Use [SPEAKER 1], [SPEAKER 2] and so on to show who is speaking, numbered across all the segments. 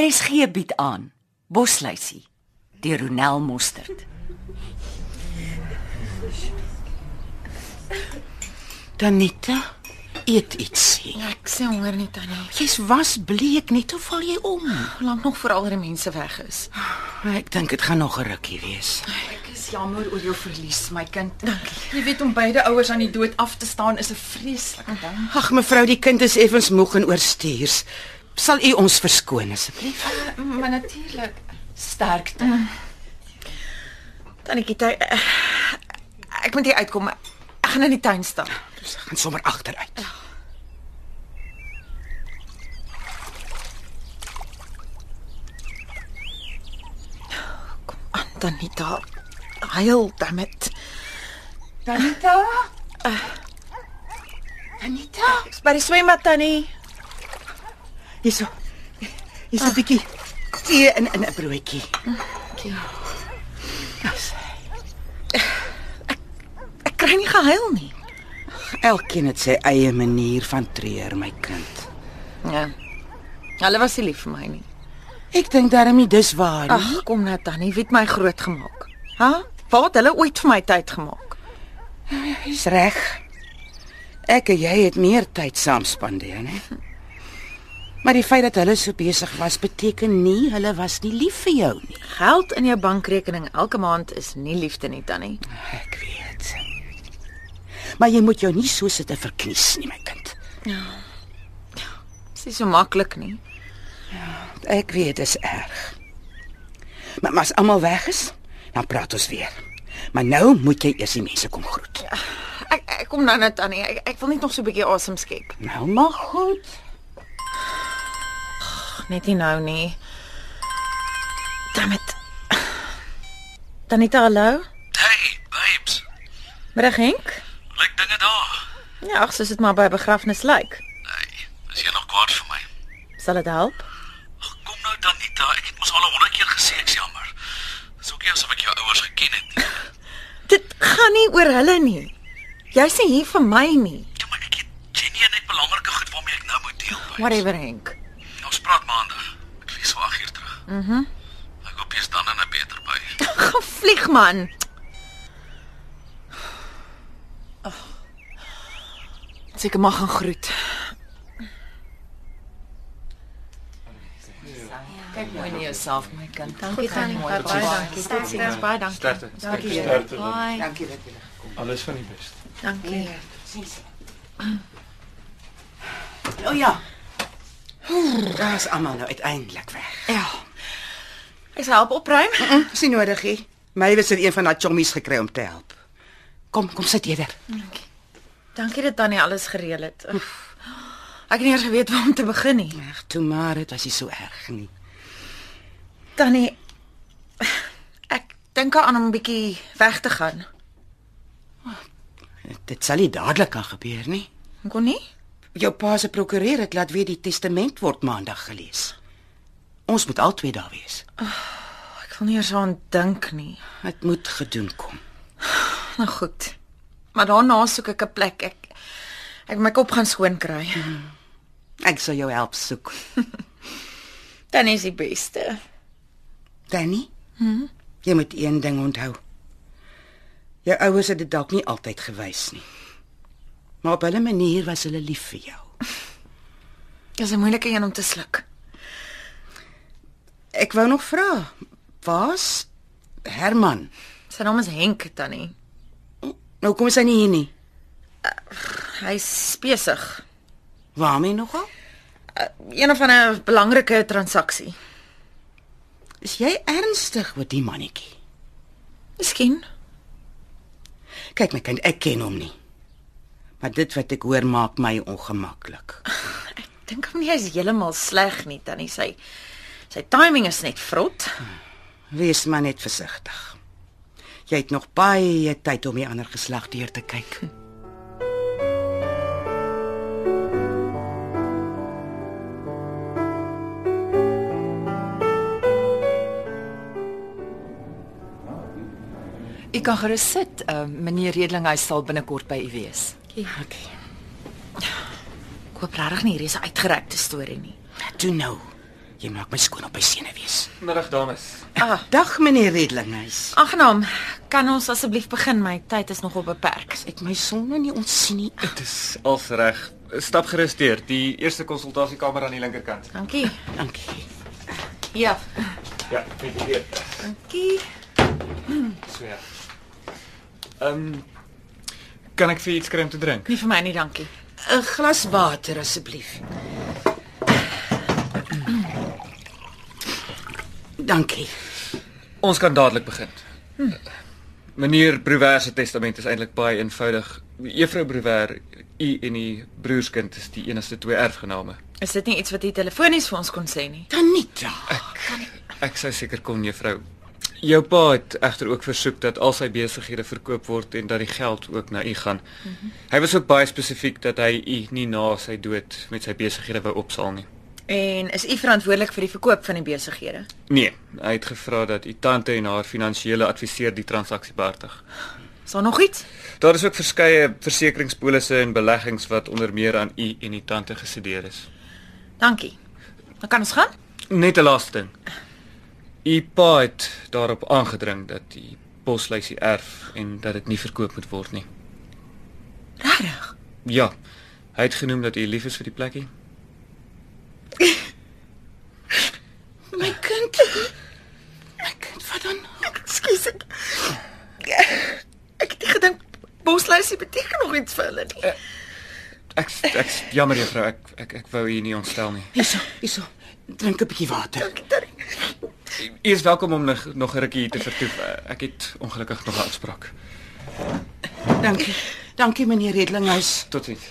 [SPEAKER 1] RSG bied aan Bosluisie deur Ronel Mostert.
[SPEAKER 2] Tanita, eet ietsie.
[SPEAKER 3] Ja, ek sien honger nie tannie.
[SPEAKER 2] Jy's was bleek, net hoe val jy om?
[SPEAKER 3] Lank nog vir al die mense weg is.
[SPEAKER 2] Ek dink dit gaan nog 'n rukkie wees.
[SPEAKER 4] Ek is jammer oor jou verlies, my kind.
[SPEAKER 3] Dankie.
[SPEAKER 4] Jy weet om beide ouers aan die dood af te staan is 'n vreeslike ding.
[SPEAKER 2] Ag mevrou, die kind is effens moeg en oorstuurs. Sal u ons verskoon asseblief?
[SPEAKER 4] Maar natuurlik sterkte.
[SPEAKER 3] Mm. Tannie Kita, ek moet hier uitkom. Ek gaan in die tuin staan.
[SPEAKER 2] Ons gaan sommer agteruit.
[SPEAKER 3] Aan Ah, Tanita. Heel damit.
[SPEAKER 4] Danita? Danita?
[SPEAKER 3] Dis by die swembad tannie.
[SPEAKER 2] Hierso. Hier's 'n bietjie tee in in 'n broodjie.
[SPEAKER 3] Ek kry nie gehuil nie.
[SPEAKER 2] Elkeen het sy eie manier van treur, my kind.
[SPEAKER 3] Ja. Hulle was nie lief vir my nie.
[SPEAKER 2] Ek dink daarom nie dis waar nie.
[SPEAKER 3] Ag, kom nou tannie, wie het my groot gemaak? Ha? Waar het hulle ooit vir my tyd gemaak?
[SPEAKER 2] Dis reg. Ek en jy het meer tyd saam spandeer, né? Maar die feit dat hulle so besig was, beteken nie hulle was nie lief vir jou nie.
[SPEAKER 3] Geld in jou bankrekening elke maand is nie liefde nie tannie.
[SPEAKER 2] Ek weet. Maar jy moet jou nie so sit en verknies nie, my kind.
[SPEAKER 3] Dis nie so maklik nie.
[SPEAKER 2] Ek weet dit is erg. Maar maar as almal weg is, dan praat ons weer. Maar nou moet jy eers die mense kom groet.
[SPEAKER 3] Ek ek kom nou net tannie. Ek, ek wil net nog so 'n bietjie asem skep.
[SPEAKER 2] Nou maar goed.
[SPEAKER 3] Net nie nou nie. Dammit. Tanita, hallo.
[SPEAKER 5] Hey, babes.
[SPEAKER 3] Middag Henk.
[SPEAKER 5] Lyk dinge daar.
[SPEAKER 3] Ja, ag, soos dit maar by 'n begrafnis lyk.
[SPEAKER 5] Hey, is jy nog kwaad vir my?
[SPEAKER 3] Sal dit help?
[SPEAKER 5] Ag, kom nou dan nie daar. Ek het mos al 100 keer gesê ek's jammer. Dis ook nie asof ek jou ouers geken het nie.
[SPEAKER 3] Dit gaan nie oor hulle nie. Jy's nie hier vir my nie.
[SPEAKER 5] Ja, maar ek het Jenny en ek belangrike goed waarmee ek nou moet deel. babes. Nou,
[SPEAKER 3] Whatever Henk.
[SPEAKER 5] Ons praat maandag. Ek vlieg so 8 uur terug. Mhm. ek hoop jy's dan in 'n beter by.
[SPEAKER 3] Gaan vlieg man.
[SPEAKER 4] Seker mag gaan groet. Kyk mooi na jouself, my kind.
[SPEAKER 6] Dankie tannie, baie baie dankie.
[SPEAKER 3] Dis baie dankie.
[SPEAKER 7] Sterkte.
[SPEAKER 6] Dankie.
[SPEAKER 7] Sterkte.
[SPEAKER 6] Baie.
[SPEAKER 2] Dankie dat jy gekom
[SPEAKER 7] Alles van die beste.
[SPEAKER 3] Dankie.
[SPEAKER 2] het. O oh, ja. Oeh, daar is almal nou uiteindelik weg.
[SPEAKER 3] Ja. Ek sal help opruim.
[SPEAKER 2] Mm, Dis nie nodig nie. Mywes het een van daai chommies gekry om te help. Kom, kom sit eerder.
[SPEAKER 3] Dankie dat tannie alles gereël het. Oef. Ek het nie eers geweet waar om te begin nie.
[SPEAKER 2] Ag, toe maar, dit was nie so erg nie.
[SPEAKER 3] Tannie ek dink aan om 'n bietjie weg te gaan.
[SPEAKER 2] Dit- Dit sal nie dadelik kan gebeur nie.
[SPEAKER 3] Kon nie?
[SPEAKER 2] Jou pa se prokureur het laat weet die testament word maandag gelees. Ons moet albei daar wees.
[SPEAKER 3] Ek wil nie eers aan dink nie.
[SPEAKER 2] Dit moet gedoen kom.
[SPEAKER 3] Nou goed. Maar daarna soek ek 'n plek. Ek ek moet my kop gaan skoon kry.
[SPEAKER 2] Ek sal jou help soek.
[SPEAKER 3] Dan is die beste.
[SPEAKER 2] Danny? Hm? Jy moet een ding onthou. Jou ouers het dit dalk nie altyd gewys nie. Maar op hulle manier was hulle lief vir jou.
[SPEAKER 3] Dis 'n moeilike een om te sluk.
[SPEAKER 2] Ek wou nog vra, waar's Herman?
[SPEAKER 3] Sy naam is Henk Tannie.
[SPEAKER 2] Nou kom sy nie hier nie.
[SPEAKER 3] Hy's besig.
[SPEAKER 2] Waarmee nogal?
[SPEAKER 3] Eh, Een of ander belangrike transaksie.
[SPEAKER 2] Is jy ernstig oor die mannetjie?
[SPEAKER 3] Miskien.
[SPEAKER 2] Kyk my kind, ek ken hom nie. Maar dit wat ek hoor maak my ongemaklik.
[SPEAKER 3] Ek dink hom nie hy's heeltemal sleg nie Tannie. Sy sy timing is net vrot.
[SPEAKER 2] Wees maar net versigtig. Jy het nog baie tyd om die ander geslag deur te kyk.
[SPEAKER 4] U kan gerus sit. Uh, meneer Redlinghuis sal binnekort by u wees.
[SPEAKER 2] Okay.
[SPEAKER 3] Ek hoop regtig nie hierdie is 'n uitgerekte storie nie.
[SPEAKER 2] Toe nou. Jy maak my skoon op my senuwees.
[SPEAKER 6] Middag dames.
[SPEAKER 2] Dag meneer Redlinghuis.
[SPEAKER 3] Aangenaam. Kan ons asseblief begin? My tyd is nogal beperk.
[SPEAKER 2] Ek my sonne nie ontsien nie.
[SPEAKER 6] Dit is als reg. Stap gerus deur. Die eerste konsultasiekamer aan die linkerkant.
[SPEAKER 3] Dankie.
[SPEAKER 2] Dankie.
[SPEAKER 3] Ja.
[SPEAKER 6] Ja, net hier.
[SPEAKER 3] Dankie.
[SPEAKER 6] So ja. Ehm kan ek vir iets kry om te drink?
[SPEAKER 3] Nie vir my nie, dankie.
[SPEAKER 2] 'n Glas water asseblief. Dankie.
[SPEAKER 6] Ons kan dadelik begin. Meneer Brouwer se testament is eintlik baie eenvoudig. Juffrou Brouwer, u en u broerskind is die enigste twee erfgename.
[SPEAKER 3] Is dit nie iets wat jy telefonies vir ons kon sê nie?
[SPEAKER 2] Tanita.
[SPEAKER 6] Ek sou seker kon, juffrou. Jou pa het egter ook versoek dat al sy besighede verkoop word en dat die geld ook na u gaan. Mm -hmm. Hy was ook baie spesifiek dat hy u nie na sy dood met sy besighede wou opsaal nie.
[SPEAKER 3] En is u verantwoordelik vir die verkoop van die besighede?
[SPEAKER 6] Nee, hy het gevra dat u tante en haar finansiële adviseur die transaksie behartig.
[SPEAKER 3] Is daar nog iets?
[SPEAKER 6] Daar is ook verskeie versekeringspolisse en beleggings wat onder meer aan u en u tante gestudeer is.
[SPEAKER 3] Dankie. Dan kan ons gaan?
[SPEAKER 6] Net 'n laaste ding. U pa het daarop aangedring dat die poslysie erf en dat dit nie verkoop moet word nie.
[SPEAKER 3] Regtig?
[SPEAKER 6] Ja. Hy het genoem dat u lief is vir die plekkie.
[SPEAKER 3] Oh
[SPEAKER 2] My kind. My kind, wat dan?
[SPEAKER 3] Ekskuus ek. Ek het nie gedink bosluisie beteken nog iets vir hulle nie.
[SPEAKER 6] Ek ek jammer juffrou, ek ek ek wou u nie ontstel nie.
[SPEAKER 2] Hierso, hierso. Drink 'n bietjie water.
[SPEAKER 6] U is welkom om nog nog 'n rukkie hier te vertoef. Ek het ongelukkig nog 'n afspraak.
[SPEAKER 2] Dankie. Dankie meneer Redlinghuis.
[SPEAKER 6] Totsiens.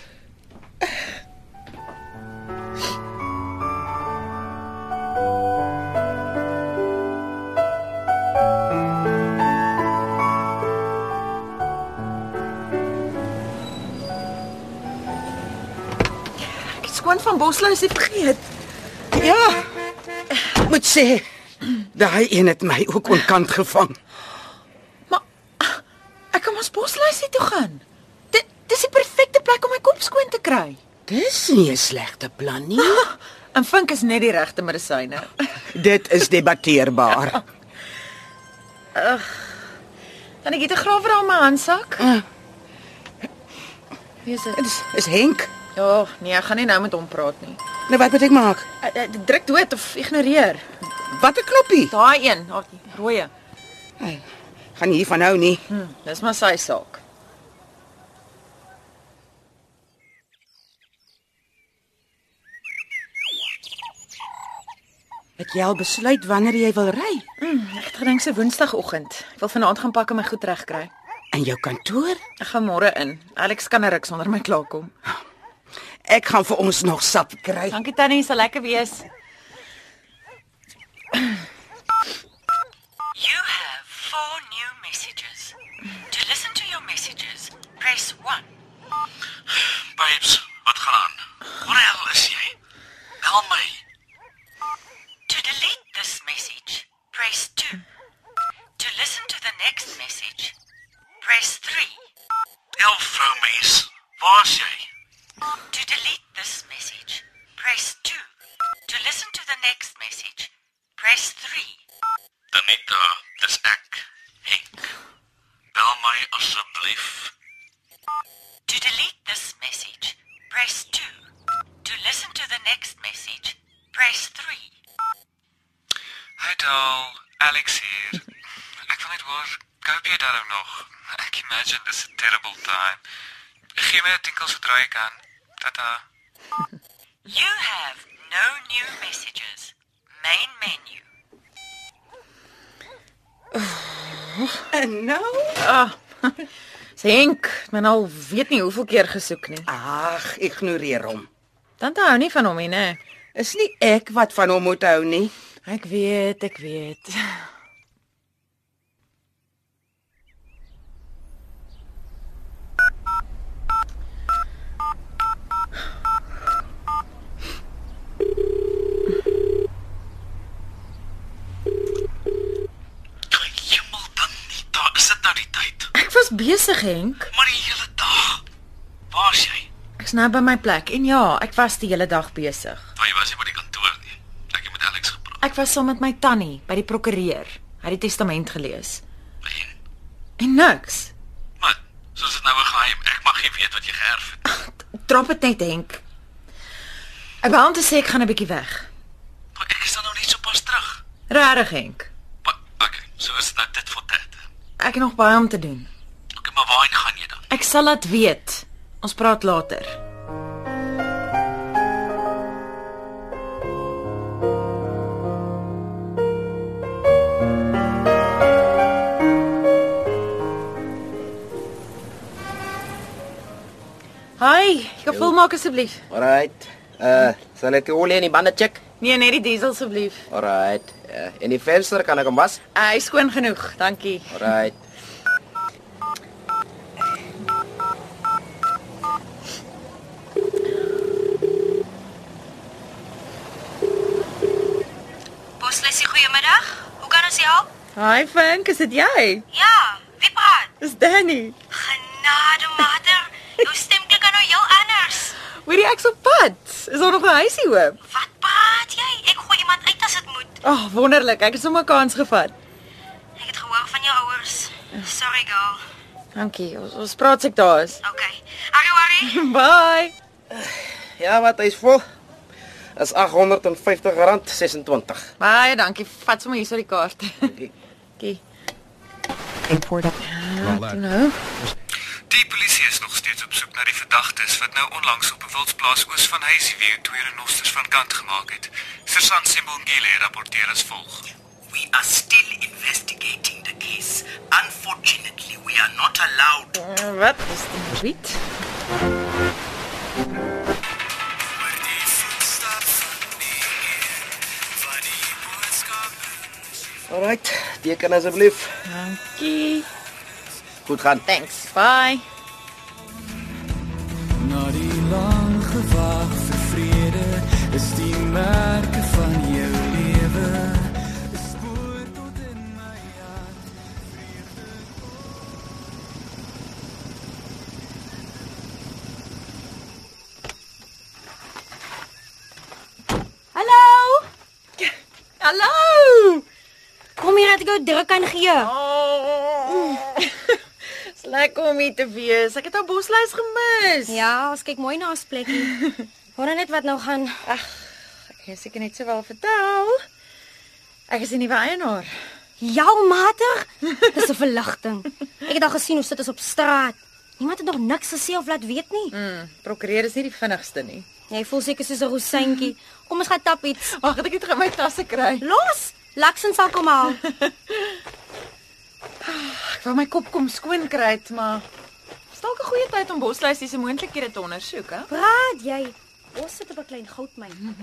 [SPEAKER 3] Ek het skoon van bosluisie vergeet.
[SPEAKER 2] Ja. Ek moet sê, daai een het my ook onkant gevang.
[SPEAKER 3] Maar ah, ek kan mos bosluisie toe gaan. Dit dis die perfekte plek om my kop skoon te kry.
[SPEAKER 2] Dis nie 'n slegte plan nie.
[SPEAKER 3] En vink is net die regte medisyne.
[SPEAKER 2] Dit is debatteerbaar.
[SPEAKER 3] Dan ek het 'n grawer aan my handsak. Wie is dit?
[SPEAKER 2] Dis is Henk.
[SPEAKER 3] Ja, nee, ek gaan nie nou met hom praat nie.
[SPEAKER 2] Nou wat moet ek maak?
[SPEAKER 3] Eh, eh, Druk dood of ignoreer.
[SPEAKER 2] Watter knoppie?
[SPEAKER 3] Daai een, daai rooie.
[SPEAKER 2] Hey, gaan nie hiervan hou nie.
[SPEAKER 3] Hm, dis maar sy saak.
[SPEAKER 2] Het jy al besluit wanneer jy wil ry?
[SPEAKER 3] Mm, Ek het gedink se Woensdagoggend. Ek wil vanaand gaan pak en my goed regkry.
[SPEAKER 2] In jou kantoor?
[SPEAKER 3] Ek gaan môre in. Alex kan 'n ruk sonder my klaarkom.
[SPEAKER 2] Ek gaan vir ons nog sap kry.
[SPEAKER 3] Dankie Tannie, sal lekker wees.
[SPEAKER 1] You have four new messages. To listen to your messages, press 1.
[SPEAKER 5] Babes, wat gaan aan? Waar die hel is jy? Help my.
[SPEAKER 1] To delete this message, press 2. To listen to the next message, press 3.
[SPEAKER 5] Elf vrou mens. Waar is jy?
[SPEAKER 1] To delete this message, press 2. To listen to the next message, press 3.
[SPEAKER 5] Danita, dis ek. Henk. Bel my asseblief.
[SPEAKER 1] To delete this message, press 2. To listen to the next message, press 3.
[SPEAKER 6] Hi Dal, Alex hier. Ek wil net hoor, koop jy daarom nog? Ek imagine dis 'n terrible time. Gee my 'n tinkel sodra jy kan. Tata.
[SPEAKER 1] You have no new messages. Main menu.
[SPEAKER 2] En nou?
[SPEAKER 3] Sê Henk, men al weet nie hoeveel keer gesoek nie.
[SPEAKER 2] Ag, ignoreer hom.
[SPEAKER 3] Dan hou nie van hom nie, né?
[SPEAKER 2] Is nie ek wat van hom moet hou nie.
[SPEAKER 3] Ek weet, ek weet.
[SPEAKER 5] Hemel, Danita, is dit nou die tyd?
[SPEAKER 3] Ek was besig, Henk.
[SPEAKER 5] Maar die hele dag. Waar is jy?
[SPEAKER 3] Ek's nou by my plek en ja, ek was die hele dag besig.
[SPEAKER 5] Jy was nie by die kantoor nie. Ek het met Alex
[SPEAKER 3] Ek was saam met my tannie by die prokureur. Hy het die testament gelees.
[SPEAKER 5] En
[SPEAKER 3] En niks.
[SPEAKER 5] maar soos dit nou 'n geheim, ek mag nie weet wat jy geërf het.
[SPEAKER 3] Drop dit net, Henk. Ek wou net sê ek gaan 'n bietjie weg.
[SPEAKER 5] Maar ek is dan nou net sopas terug.
[SPEAKER 3] Regtig, Henk.
[SPEAKER 5] Maar okay, so is dit nou dit vir tyd.
[SPEAKER 3] Ek het nog baie om te doen.
[SPEAKER 5] Okay, maar waarheen gaan jy dan?
[SPEAKER 3] Ek sal laat weet. Ons praat later. Hi, ek wil maak asseblief.
[SPEAKER 7] Alright. Uh, sal ek die olie in die bande check?
[SPEAKER 3] Nee, net die diesel asseblief.
[SPEAKER 7] Alright. Uh, en die venster kan ek hom was?
[SPEAKER 3] Uh, hy is skoon genoeg, dankie.
[SPEAKER 7] Alright.
[SPEAKER 1] Poslesie, goeiemiddag. Hoe kan ons jou help?
[SPEAKER 3] Hi Frank, is dit jy?
[SPEAKER 1] Ja, wie praat?
[SPEAKER 3] Dis Danny.
[SPEAKER 1] Genade, mater. Jou stem klink nou heel anders.
[SPEAKER 3] Hoorie ek's op pad. Is daar nog 'n huisie oop?
[SPEAKER 1] Wat praat jy? Ek gooi iemand uit as dit moet.
[SPEAKER 3] Ag, oh, wonderlik. Ek het sommer kans gevat.
[SPEAKER 1] Ek het gehoor van jou ouers. Sorry, girl.
[SPEAKER 3] Dankie. Ons, ons praat sek daar is.
[SPEAKER 1] Okay. Harry, Harry.
[SPEAKER 3] Bye.
[SPEAKER 7] Ja, wat hy's vol. Is R850.26.
[SPEAKER 3] Baie dankie. Vat sommer hierso die kaart. Dankie. Ja, nou.
[SPEAKER 6] Die polisie is nog steeds op soek na die verdagtes wat nou onlangs op 'n wildsplaas oos van Hazyview twee renosters van kant gemaak het. Sergeant Simbongile rapporteer as volg.
[SPEAKER 1] We are still investigating the case. Unfortunately, we are not allowed
[SPEAKER 3] Wat is dit? Wit.
[SPEAKER 7] Alright. Teken asseblief.
[SPEAKER 3] Dankie.
[SPEAKER 7] Goed gaan.
[SPEAKER 3] Thanks. Bye.
[SPEAKER 8] Na die lang gewag vir vrede is die merke van jou lewe 'n spoor tot in my hart.
[SPEAKER 9] Hallo.
[SPEAKER 3] Hallo.
[SPEAKER 9] Kom hier dat ek jou druk kan gee.
[SPEAKER 3] Oh. Dis lekker om hier te wees. Ek het haar boslys gemis.
[SPEAKER 9] Ja, ons kyk mooi na ons plekkie. Hoor net wat nou gaan.
[SPEAKER 3] Ek het seker net sowel vertel. Ek is in die eienaar.
[SPEAKER 9] Jou mater, dis 'n verligting. Ek het al gesien hoe sit ons op straat. Niemand het nog niks gesê of laat weet nie.
[SPEAKER 3] Mm, prokureur is nie die vinnigste nie.
[SPEAKER 9] Jy voel seker soos 'n rosyntjie. Kom ons gaan tap iets.
[SPEAKER 3] Wag, ek het dit in my tasse kry.
[SPEAKER 9] Los. Laksin sal kom haal.
[SPEAKER 3] Ek wou my kop kom skoon kry, het, maar is dalk 'n goeie tyd om bosluisie se moontlikhede te ondersoek, hè?
[SPEAKER 9] Praat jy. Ons sit op 'n klein goudmyn.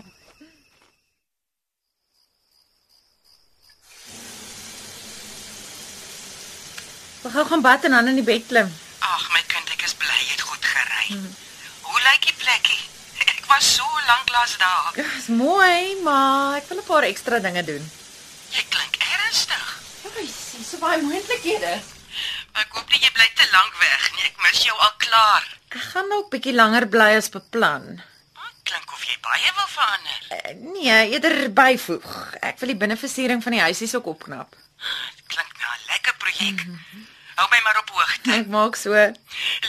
[SPEAKER 3] We gaan gaan bad en dan in die bed klim.
[SPEAKER 1] Ag, my kind, ek is bly jy het goed gery. Hoe lyk die plekkie? Ek was so lank laas daar.
[SPEAKER 3] Ja, is mooi, maar ek wil 'n paar ekstra dinge doen.
[SPEAKER 1] Jy klink ernstig.
[SPEAKER 3] Ja, sien so baie moontlikhede.
[SPEAKER 1] Ek hoop nie jy bly te lank weg nie. Ek mis jou al klaar.
[SPEAKER 3] Ek gaan nog bietjie langer bly as beplan.
[SPEAKER 1] Ah, Klink of jy baie wil verander.
[SPEAKER 3] Eh, Nee, eerder byvoeg. Ek wil die binneversiering van die huisies ook opknap.
[SPEAKER 1] Dit klink na 'n lekker projek. Hou my maar op hoogte.
[SPEAKER 3] Ek maak so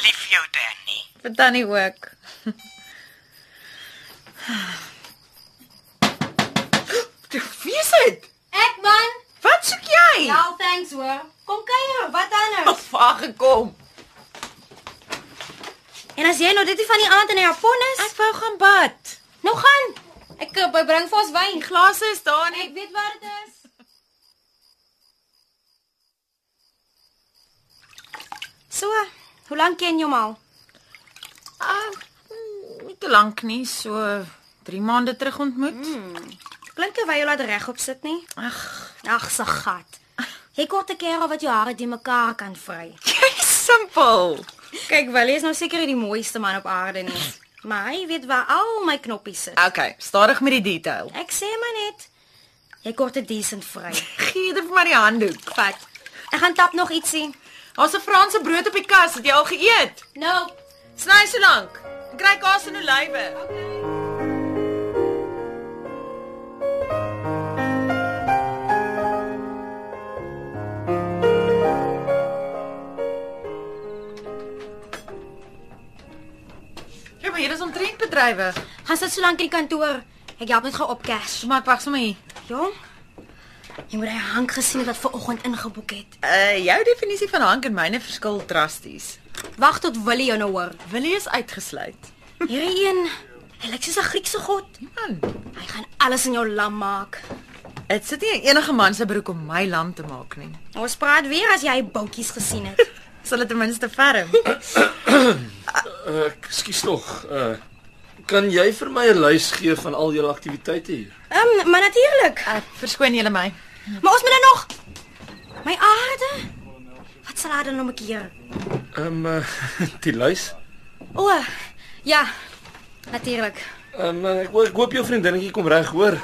[SPEAKER 1] Lief jou, Danny.
[SPEAKER 3] vir Tannie ook. Wie is dit?
[SPEAKER 9] Ek man. Ja,
[SPEAKER 3] Wat soek jy?
[SPEAKER 9] thanks hoor. Kom kuier, wat anders?
[SPEAKER 3] vaag gekom.
[SPEAKER 9] En as jy nou dit nie van die aand in Japon
[SPEAKER 3] Ek
[SPEAKER 9] is,
[SPEAKER 3] wou gaan bad.
[SPEAKER 9] nou gaan. Ek eh, bring vir ons wyn.
[SPEAKER 3] Glase is daar nie.
[SPEAKER 9] Ek weet waar dit is. So, hoe lank ken jy hom al?
[SPEAKER 3] Ah, mm, nie te lank nie, so 3 maande terug ontmoet.
[SPEAKER 9] Klink jy jy laat regop sit nie?
[SPEAKER 3] Ag,
[SPEAKER 9] Ag, se gat. Jy kort 'n keer wat jou hare die mekaar kan vry.
[SPEAKER 3] jy's simpel.
[SPEAKER 9] Kyk, Willie is nou seker die mooiste man op aarde nie. Maar hy weet waar al my knoppies sit.
[SPEAKER 3] Okay, stadig met die detail.
[SPEAKER 9] Ek sê maar net, jy kort dit decent vry.
[SPEAKER 3] Gee dit vir my die handdoek.
[SPEAKER 9] Vat. Ek gaan tap nog ietsie.
[SPEAKER 3] Daar's 'n Franse brood op die kas. Het jy al geëet?
[SPEAKER 9] Nou,
[SPEAKER 3] Sny so lank. En Kry kaas en olywe. Ja, bedrywig.
[SPEAKER 9] Gaan sit so lank in die kantoor. Ek help net gou op cash.
[SPEAKER 3] Maar wag sommer hier.
[SPEAKER 9] Jong. Jy moet hy hank gesien het wat ver oggend ingeboek het.
[SPEAKER 3] Uh jou definisie van hank en myne verskil drasties.
[SPEAKER 9] Wag tot Willie jou nou hoor.
[SPEAKER 3] Willie is uitgesluit.
[SPEAKER 9] Hierdie een, hy lyk soos 'n Griekse god.
[SPEAKER 3] Man,
[SPEAKER 9] Hy gaan alles in jou lam maak.
[SPEAKER 3] dit sit nie in enige man se broek om my lam te maak nie.
[SPEAKER 9] Ons praat weer as jy boutjies gesien het.
[SPEAKER 3] Sal dit ten minste ferm.
[SPEAKER 5] Ek skuis tog. Uh kan jy vir my 'n lys gee van al julle aktiwiteite hier?
[SPEAKER 9] Ehm, um, maar natuurlik.
[SPEAKER 3] Ek verskoon julle my.
[SPEAKER 9] Maar ons moet nou nog my aarde. Wat sal haar dan nou maak hier?
[SPEAKER 5] Ehm um, uh, die lys.
[SPEAKER 9] O, ja. Natuurlik.
[SPEAKER 5] Ehm um, ek, ek hoop jou vriendinnetjie kom reg hoor.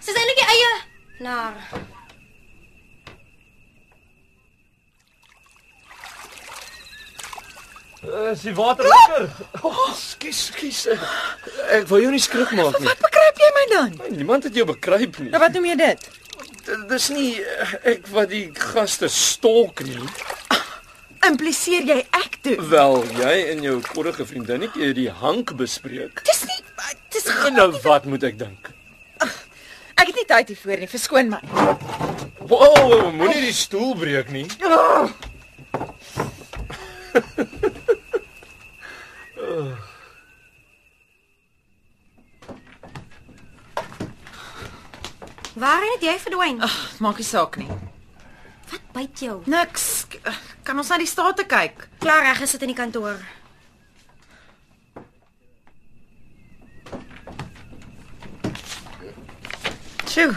[SPEAKER 9] Sy's eintlik die eie Nou, naar.
[SPEAKER 5] Eh, Is die water lekker? Oh, skus, skus. Ek wou jou nie skrik maak nie.
[SPEAKER 3] Wat begryp jy my dan?
[SPEAKER 5] Niemand het jou bekruip nie.
[SPEAKER 3] Nou wat noem jy dit?
[SPEAKER 5] D- Nou, Dis nie eh, ek wat die gaste stalk nie.
[SPEAKER 3] Impliseer jy ek doen?
[SPEAKER 5] Wel, jy en jou korrige vriendinnetjie het die hank bespreek.
[SPEAKER 3] Dis nie ah, dis
[SPEAKER 5] En nou wat moet ek dink?
[SPEAKER 3] Ek het nie tyd hiervoor nie, verskoon my.
[SPEAKER 5] Wow, moenie die stoel breek nie.
[SPEAKER 9] Waarheen het jy verdwyn?
[SPEAKER 3] Ag, maak nie saak nie.
[SPEAKER 9] Wat byt jou?
[SPEAKER 3] Niks. K- Kan ons na die state kyk?
[SPEAKER 9] Klaar reg gesit in die kantoor.
[SPEAKER 3] Sjoe.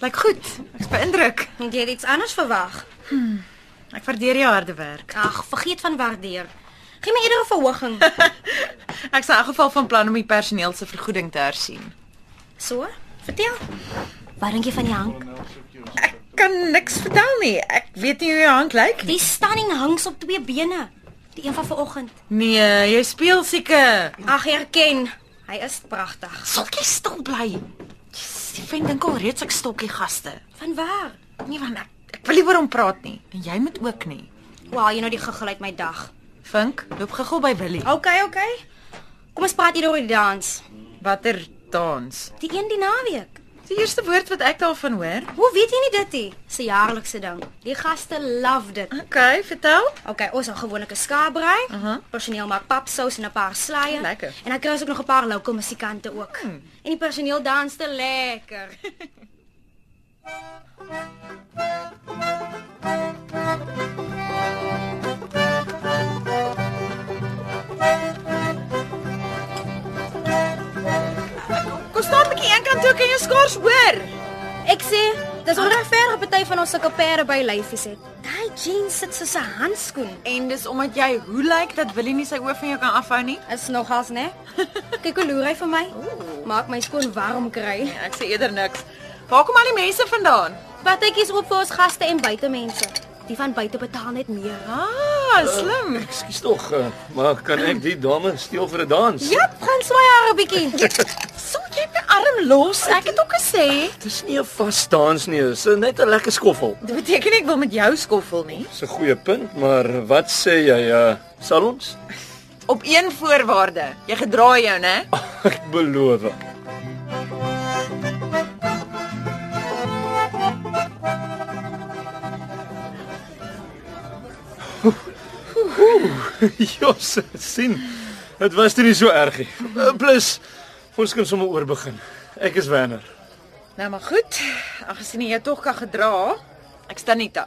[SPEAKER 3] Lyk goed. Ek's beïndruk.
[SPEAKER 9] Ek het iets anders verwag.
[SPEAKER 3] Ek waardeer jou harde werk.
[SPEAKER 9] Ag, vergeet van waardeer. Gee my eerder 'n verhoging.
[SPEAKER 3] Ek's in elk geval van plan om die personeel se vergoeding te hersien.
[SPEAKER 9] So, vertel. Wat dink jy van die hank?
[SPEAKER 3] Ek kan niks vertel nie. Ek weet nie hoe jou hand lyk
[SPEAKER 9] Die stunning hangs op twee bene. Die een van vanoggend.
[SPEAKER 3] Nee, jy speel seker.
[SPEAKER 9] Ag, herken. Hy is pragtig.
[SPEAKER 3] Sal jy stil bly? Die vriend dink al reeds ek stokkie gaste.
[SPEAKER 9] Van waar?
[SPEAKER 3] Nee, want ek, ek wil nie oor hom praat nie. En jy moet ook nie.
[SPEAKER 9] Wow, jy nou die gegil uit my dag.
[SPEAKER 3] Vink, loop gou by Willie.
[SPEAKER 9] OK, OK. Kom ons praat hier oor die dans.
[SPEAKER 3] Watter dans?
[SPEAKER 9] Die een die naweek.
[SPEAKER 3] Die eerste woord wat ek daarvan hoor.
[SPEAKER 9] Hoe weet jy nie dit nie? Dis 'n jaarlikse ding. Die gaste love dit.
[SPEAKER 3] Okay, vertel.
[SPEAKER 9] OK, ons hou gewoonlik 'n skaapbraai. Uh -huh. Personeel maak papsous en 'n paar slaaië.
[SPEAKER 3] Lekker.
[SPEAKER 9] En dan kry ons ook nog 'n paar lokale musikante ook. Hmm. En die personeel dans te lekker.
[SPEAKER 3] Kom staan 'n bietjie eenkant toe kan jy skaars hoor.
[SPEAKER 9] Ek sê, dis onregverdig party van ons sulke pere by lyfies het. Daai jeans sit soos 'n handskoen.
[SPEAKER 3] En dis omdat jy hoe lyk dat Willie nie sy oë van jou kan afhou nie.
[SPEAKER 9] Is nogals, né? Kyk hoe loer hy vir my. Maak my skoon warm kry.
[SPEAKER 3] Ja, Ek sê eerder niks. Waar kom al die mense vandaan?
[SPEAKER 9] Partytjies oop vir ons gaste en buitemense. Die van buite betaal net meer.
[SPEAKER 3] Ah, slim.
[SPEAKER 5] Ekskuus tog, eh, maar kan ek die dame steel vir 'n dans?
[SPEAKER 9] Jap, Ja, gaan swaai haar 'n bietjie.
[SPEAKER 3] Sou jy my arm los? Ek het ook gesê.
[SPEAKER 5] Dis nie 'n vas dans nie, dis net 'n lekker skoffel.
[SPEAKER 3] Dit beteken nie ek wil met jou skoffel nie.
[SPEAKER 5] Dis 'n goeie punt, maar wat sê jy, uh, sal ons?
[SPEAKER 3] Op een voorwaarde. Jy gedra jou, né?
[SPEAKER 5] Ek beloof. Jos, sien. Dit was toe nie so erg nie. Uh, Plus ons kan sommer oor begin. Ek is Werner.
[SPEAKER 3] Nou maar goed. Aangesien jy jou tog kan gedra, ek staan nie ta.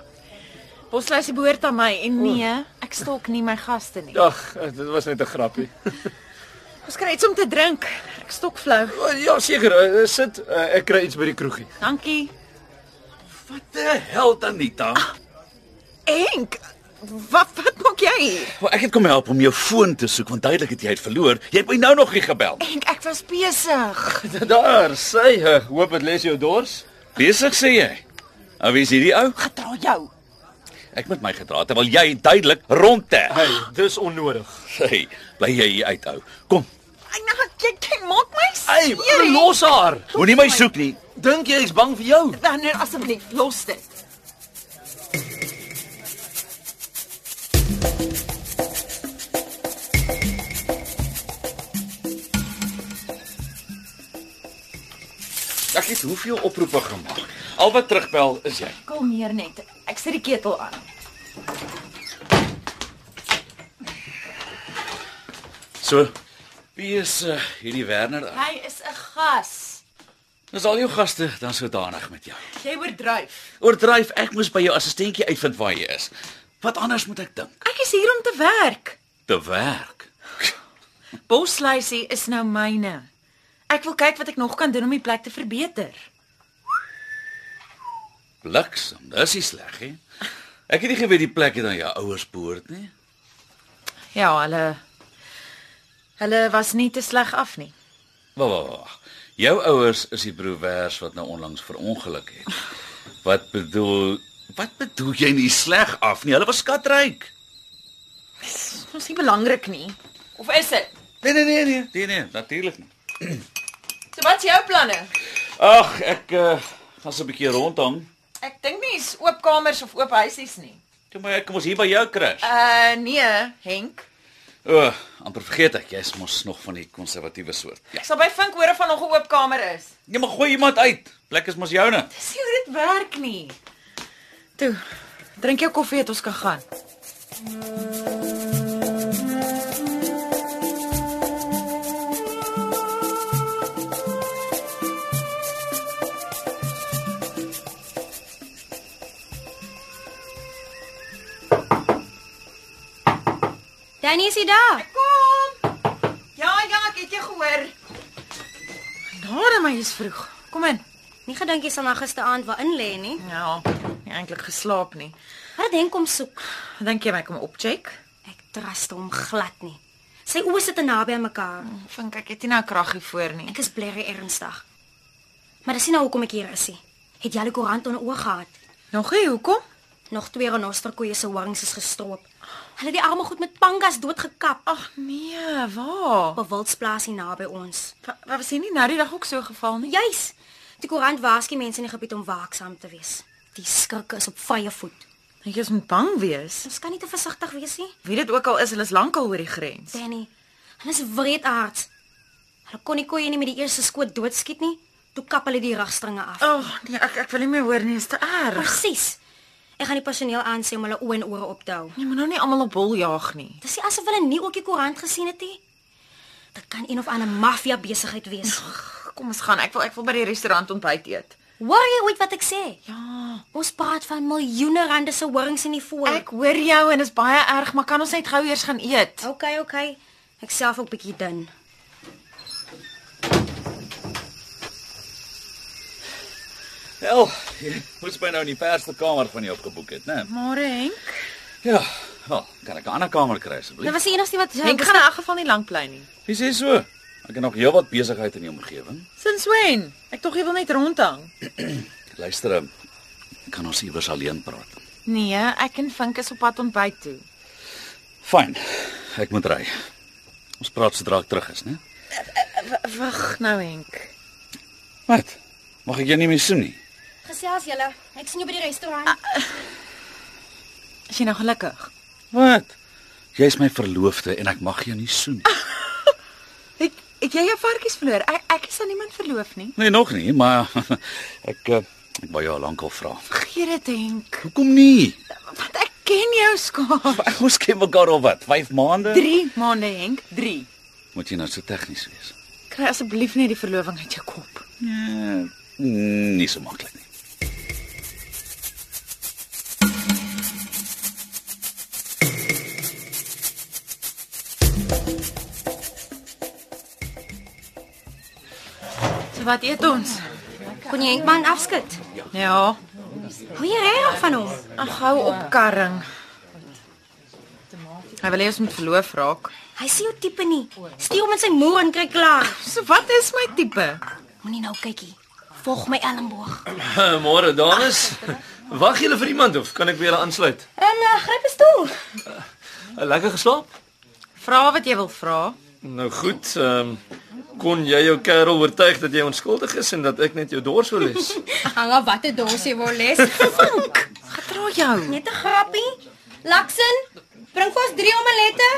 [SPEAKER 3] Posluisie behoort aan my en nee, ek stalk nie my gaste nie.
[SPEAKER 5] Ag, eh, dit was net 'n grappie.
[SPEAKER 3] Ons kry iets om te drink. Ek stok flou.
[SPEAKER 5] O, Ja, seker, eh, sit. eh, Ek kry iets by die kroegie.
[SPEAKER 3] Dankie.
[SPEAKER 5] Wat die hel dan nie dan?
[SPEAKER 3] Enk. Wat wat maak jy hier?
[SPEAKER 10] Maar Ah, ek het kom help om jou foon te soek want duidelik het jy dit verloor. Jy het my nou nog nie gebel.
[SPEAKER 3] Enk, ek was besig.
[SPEAKER 5] Daar, sê, eh, hoop dit lees jou dors.
[SPEAKER 10] Besig sê jy. Nou wie is hierdie ou?
[SPEAKER 3] Gedra jou.
[SPEAKER 10] Ek met my gedra terwyl jy duidelik rondte.
[SPEAKER 5] Hey, dis onnodig.
[SPEAKER 10] Hey, bly jy hier uithou. Kom,
[SPEAKER 3] Nou, jy, jy maak my
[SPEAKER 5] Ai,
[SPEAKER 3] seer.
[SPEAKER 5] los haar.
[SPEAKER 10] moenie my soek nie.
[SPEAKER 5] Dink jy ek's bang vir jou?
[SPEAKER 3] Dan nou asseblief, los dit.
[SPEAKER 10] Ek het hoeveel oproepe gemaak. Al wat terugbel is jy.
[SPEAKER 3] Kom hier net. Ek sit die ketel aan.
[SPEAKER 10] So, wie is uh, hierdie Werner? dan?
[SPEAKER 3] Hy is 'n gas.
[SPEAKER 10] Dis al jou gaste dan sodanig met jou.
[SPEAKER 3] Jy oordryf.
[SPEAKER 10] Oordryf, ek moes by jou assistentjie uitvind waar jy is. Wat anders moet ek dink?
[SPEAKER 3] Ek is hier om te werk.
[SPEAKER 10] Te werk.
[SPEAKER 3] Bosluisie is nou myne. Ek wil kyk wat ek nog kan doen om die plek te verbeter.
[SPEAKER 10] Bliksem, dis nie sleg hè. Ek het nie geweet die plek het aan jou ouers behoort nie.
[SPEAKER 3] Ja, hulle hulle was nie te sleg af nie.
[SPEAKER 10] Wag, wag, wag. Jou ouers is die broers wat nou onlangs verongeluk het. Wat bedoel Wat bedoel jy nie sleg af nie? Hulle was skatryk.
[SPEAKER 3] Dis mos nie belangrik nie. Of is dit?
[SPEAKER 10] Nee nee nee nee, nee nee, natuurlik nie.
[SPEAKER 3] So wat is jou planne?
[SPEAKER 10] Ag, ek uh, gaan so 'n bietjie rondhang.
[SPEAKER 3] Ek dink nie is oop kamers of oop huisies nie.
[SPEAKER 10] Toe maar ek kom ons hier by jou kry.
[SPEAKER 3] Uh nee, Henk.
[SPEAKER 10] O, oh, amper vergeet ek, jy's mos nog van die konservatiewe soort. Ja.
[SPEAKER 3] Ek sal by Vink hoor of daar nog 'n oop kamer is.
[SPEAKER 10] Jy mag gooi iemand uit. Plek is mos joune.
[SPEAKER 3] Dis nie hoe dit werk nie. Toe, drink jou koffie het ons kan gaan.
[SPEAKER 9] Danny is hier daar.
[SPEAKER 3] Kom. Ja, ja, ek het jou gehoor. Genade my is vroeg. Kom in.
[SPEAKER 9] Nie gedink jy sal na gisteraand waar in lê nie.
[SPEAKER 3] Ja, nie eintlik geslaap nie.
[SPEAKER 9] Wat dink kom soek?
[SPEAKER 3] Dink jy my kom opcheck?
[SPEAKER 9] Ek trust hom glad nie. Sy oë sit te naby aan mekaar.
[SPEAKER 3] Vink ek het nie nou kraggie voor nie.
[SPEAKER 9] Ek is blerry ernstig. Maar dis nie nou hoekom ek hier is nie. Het jy al die koerant onder oë gehad?
[SPEAKER 3] Nog nie, hoekom?
[SPEAKER 9] Nog twee renosterkoeie se horings is gestroop. Hulle het die arme goed met pangas doodgekap
[SPEAKER 3] Ag nee, waar?
[SPEAKER 9] op 'n wildsplaas hier naby ons.
[SPEAKER 3] Wa- Wat was hier nie nou die dag ook so geval nie?
[SPEAKER 9] Juis. Die koerant waarsku mense in die gebied om waaksaam te wees. Die skrikke is op vrye voet.
[SPEAKER 3] Dink jy ons moet bang wees?
[SPEAKER 9] Ons kan nie te versigtig wees nie,
[SPEAKER 3] Wie dit ook al is, hulle is lankal oor die grens.
[SPEAKER 9] Danny. Hulle is wreedaards. Hulle kon nie koeie nie met die eerste skoot doodskiet nie. Toe kap hulle die rugstringe af.
[SPEAKER 3] Ag oh, nee, ek ek wil nie meer hoor nie, is te erg.
[SPEAKER 9] Presies. Ek gaan die personeel aansê om hulle oë en ore op te hou.
[SPEAKER 3] Jy moet nou nie almal op hol jaag nie.
[SPEAKER 9] Dis nie asof hulle nie ook die koerant gesien het nie. Dit kan een of ander maffia besigheid wees.
[SPEAKER 3] Kom ons gaan. Ek wil ek wil by die restaurant ontbyt eet.
[SPEAKER 9] Hoor jy ooit wat ek sê?
[SPEAKER 3] Ja,
[SPEAKER 9] Ons praat van miljoene rande se horings in die voor.
[SPEAKER 3] ek hoor jou en is baie erg, maar kan ons net gou eers gaan eet?
[SPEAKER 9] OK, OK. Ek self ook bietjie dun.
[SPEAKER 10] Wel, jy moes by nou in die perste kamer van jou opgeboek het, né?
[SPEAKER 3] Môre Henk.
[SPEAKER 10] Ja. Wel, kan ek 'n ander kamer kry
[SPEAKER 9] Dit
[SPEAKER 10] asseblief?
[SPEAKER 9] was die enigste wat
[SPEAKER 3] Henk gaan in elk geval nie lank bly nie.
[SPEAKER 10] Wie sê so? Ek het nog heelwat besigheid in die omgewing.
[SPEAKER 3] Sinds when? Ek tog jy wil net rondhang.
[SPEAKER 10] Luister, ehm, kan ons iewers alleen praat?
[SPEAKER 3] Nee, ek en Vink is op pad ontbyt toe.
[SPEAKER 10] Fyn. Ek moet ry. Ons praat sodra ek terug is, né?
[SPEAKER 3] Wag nou Henk.
[SPEAKER 10] Wat? Mag ek jou nie meer soen nie?
[SPEAKER 9] gesels julle. Ek sien jou by die restaurant.
[SPEAKER 3] Is jy nou gelukkig?
[SPEAKER 10] Wat? Jy's my verloofde en ek mag jou nie soen nie.
[SPEAKER 3] Het het jy jou varkies verloor? Ek ek is aan niemand verloof nie.
[SPEAKER 10] Nee, nog nie, maar ek eh, ek wou jou al lankal vra.
[SPEAKER 3] Gee dit Henk.
[SPEAKER 10] Hoekom nie?
[SPEAKER 3] Want ek ken jou skaap.
[SPEAKER 10] Maar Ons ken mekaar al wat, 5 maande.
[SPEAKER 3] 3 maande Henk, 3.
[SPEAKER 10] Moet jy nou so tegnies wees?
[SPEAKER 3] Kry asseblief net die verloving uit jou kop.
[SPEAKER 10] Nee, nie so maklik nie.
[SPEAKER 3] So wat eet ons?
[SPEAKER 9] Kon jy Henkman afskud?
[SPEAKER 3] Ja,
[SPEAKER 9] Hoe jy reg van hom.
[SPEAKER 3] Ag hou op karring. Hy wil hê ons moet verloof raak.
[SPEAKER 9] Hy sien jou tipe nie. Stuur hom in sy moer en kry klaar.
[SPEAKER 3] So wat is my tipe?
[SPEAKER 9] Moenie nou kykie. Volg my Elmboog.
[SPEAKER 5] Eh, Môre dames. Wag julle vir iemand of kan ek weer aansluit? Eh,
[SPEAKER 9] En uh, gryp 'n stoel.
[SPEAKER 5] Lekker geslaap?
[SPEAKER 3] Vra wat jy wil vra.
[SPEAKER 5] Nou goed, ehm kon jy jou kerel oortuig dat jy onskuldig is en dat ek net jou dors wil lees?
[SPEAKER 9] Hang af watter dorsie wil les.
[SPEAKER 3] Gedra jou.
[SPEAKER 9] Net 'n grappie. Laksin, bring vir ons drie omelette.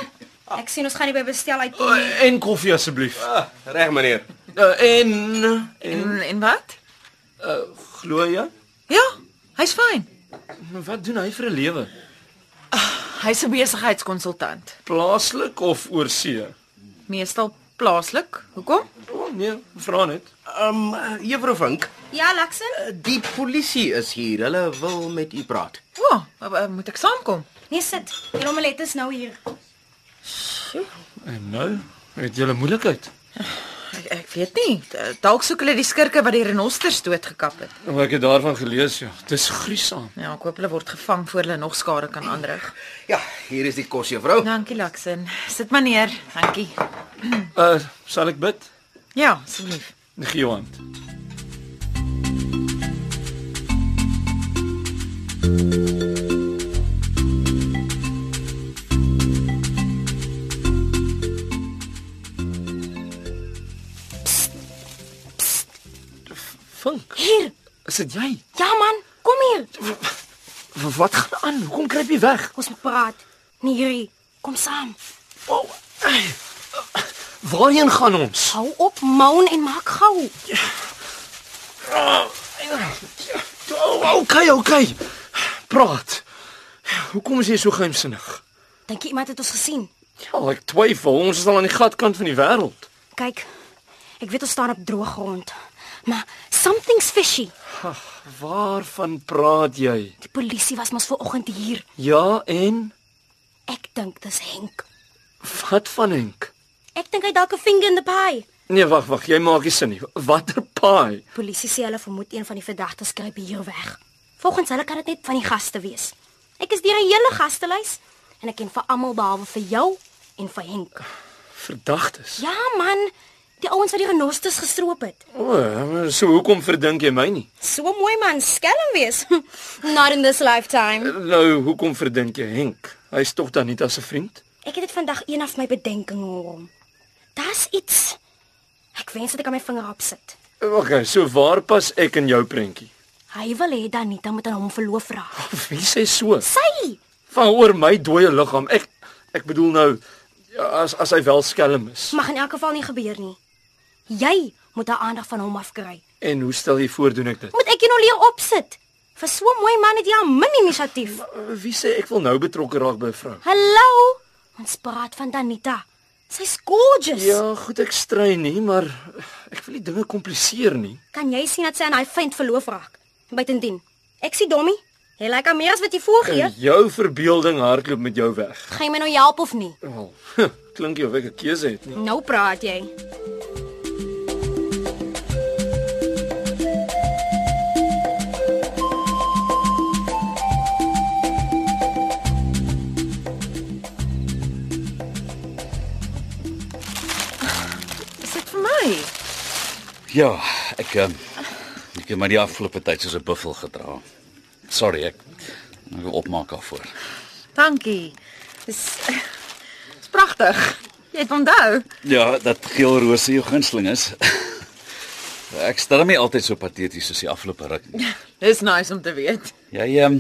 [SPEAKER 9] Ek sien ons gaan nie by bestel uit
[SPEAKER 5] Eh,
[SPEAKER 9] nie.
[SPEAKER 5] en koffie asseblief.
[SPEAKER 11] Reg meneer.
[SPEAKER 5] Uh, en
[SPEAKER 3] En en wat?
[SPEAKER 5] Uh, glo jy?
[SPEAKER 3] Ja, hy's fyn.
[SPEAKER 5] Maar wat doen hy vir 'n lewe?
[SPEAKER 3] Hy's 'n besigheidskonsultant,
[SPEAKER 5] Plaaslik of oorsee?
[SPEAKER 3] meestal plaaslik. Hoekom?
[SPEAKER 5] O oh, nee, vra net.
[SPEAKER 11] Ehm um, Juffrou Vink,
[SPEAKER 9] Ja, Laksin?
[SPEAKER 11] die polisie is hier. Hulle wil met u praat.
[SPEAKER 3] O, oh, moet ek saamkom?
[SPEAKER 9] Nee, sit. Die omelet is nou hier.
[SPEAKER 5] En nou, het jy 'n moeilikheid.
[SPEAKER 3] Ek, ek weet nie. D- Dalk soek hulle die skurke wat die renosters doodgekap het.
[SPEAKER 5] Maar ek het daarvan gelees, ja. Dis gruisam.
[SPEAKER 3] Ja, ek hoop hulle word gevang voor hulle nog skade kan aanrig.
[SPEAKER 11] Ja, hier is die kos, juffrou.
[SPEAKER 3] Dankie, Laksin. Sit maar neer. Dankie.
[SPEAKER 5] Uh, sal ek bid?
[SPEAKER 3] Ja, asseblief.
[SPEAKER 5] Gee jou hand. Vink,
[SPEAKER 9] Hier.
[SPEAKER 5] is dit jy?
[SPEAKER 9] Ja man, kom hier.
[SPEAKER 5] W- Wat gaan aan? Hoekom kruip jy weg?
[SPEAKER 9] Ons moet praat. Nee, hierdie. Kom saam.
[SPEAKER 5] Waarheen gaan ons?
[SPEAKER 9] Hou op moan en maak gou.
[SPEAKER 5] Oh, okay, okay. Praat. Hoekom is jy so geheimsinnig?
[SPEAKER 9] Dink jy iemand het ons gesien?
[SPEAKER 5] Ja, ek twyfel. Ons is al aan die gatkant van die wêreld.
[SPEAKER 9] Kyk. Ek weet ons staan op droë grond. Maar something's fishy.
[SPEAKER 5] Waarvan praat jy?
[SPEAKER 9] Die polisie was mos vanoggend hier.
[SPEAKER 5] Ja, en
[SPEAKER 9] Ek dink dis Henk.
[SPEAKER 5] wat van Henk?
[SPEAKER 9] Ek dink hy dalk 'n vinger in the pie.
[SPEAKER 5] Nee, wag, wag. Jy maak nie sin nie. Watter paai?
[SPEAKER 9] Polisie sê hulle vermoed een van die verdagtes kruip hier weg. Volgens hulle kan dit net van die gaste wees. Ek is deur 'n hele gastelys en ek ken vir almal behalwe vir jou en vir Henk.
[SPEAKER 5] Verdagtes.
[SPEAKER 9] Ja man, die ouens wat die renosters gestroop het.
[SPEAKER 5] O, so hoekom verdink jy my nie?
[SPEAKER 9] So mooi man, skelm wees. Not in this lifetime.
[SPEAKER 5] Nou, hoekom verdink jy Henk? Hy's tog dan nie as 'n vriend?
[SPEAKER 9] Ek het dit vandag een af my bedenkinge hoor. Daar's iets. Ek wens dat ek aan my vinger op sit.
[SPEAKER 5] Okay, so waar pas ek in jou prentjie?
[SPEAKER 9] Hy wil hê Danita moet aan hom verloof raak.
[SPEAKER 5] Wie sê so?
[SPEAKER 9] Sy,
[SPEAKER 5] Van oor my dooie liggaam. Ek ek bedoel nou ja, as as hy wel skelm is.
[SPEAKER 9] mag in elk geval nie gebeur nie. Jy moet haar aandag van hom afkry.
[SPEAKER 5] En hoe stel jy voor doen ek dit?
[SPEAKER 9] Moet ek jou nou leer opsit? Vir so 'n mooi man het jy al min inisiatief.
[SPEAKER 5] Wie sê ek wil nou betrokke raak by 'n vrou?
[SPEAKER 9] Hallo. Ons praat van Danita. Sy's gorgeous.
[SPEAKER 5] Ja, goed ek strei nie, maar ek wil nie dinge kompliseer nie.
[SPEAKER 9] Kan jy sien dat sy aan daai vriend verloof raak? Buitendien, ek sien Dommy. Hy lyk aan meer as wat jy voorgee.
[SPEAKER 5] En jou verbeelding hardloop met jou weg.
[SPEAKER 9] Gaan jy my nou help of nie?
[SPEAKER 5] Wel, klink jy of ek 'n keuse het nie.
[SPEAKER 9] Nou praat jy.
[SPEAKER 3] Is dit vir my?
[SPEAKER 10] Ja, ek ehm, ek het my die afgelope tyd soos 'n buffel gedra. Sorry, ek ek wil opmaak daarvoor.
[SPEAKER 3] Dankie. Dis Dis pragtig. Jy het onthou.
[SPEAKER 10] Ja, dat geel rose jou gunsteling is. Ek stel my altyd so pateties soos die afgelope ruk. nie.
[SPEAKER 3] Dis nice om te weet.
[SPEAKER 10] Jy ehm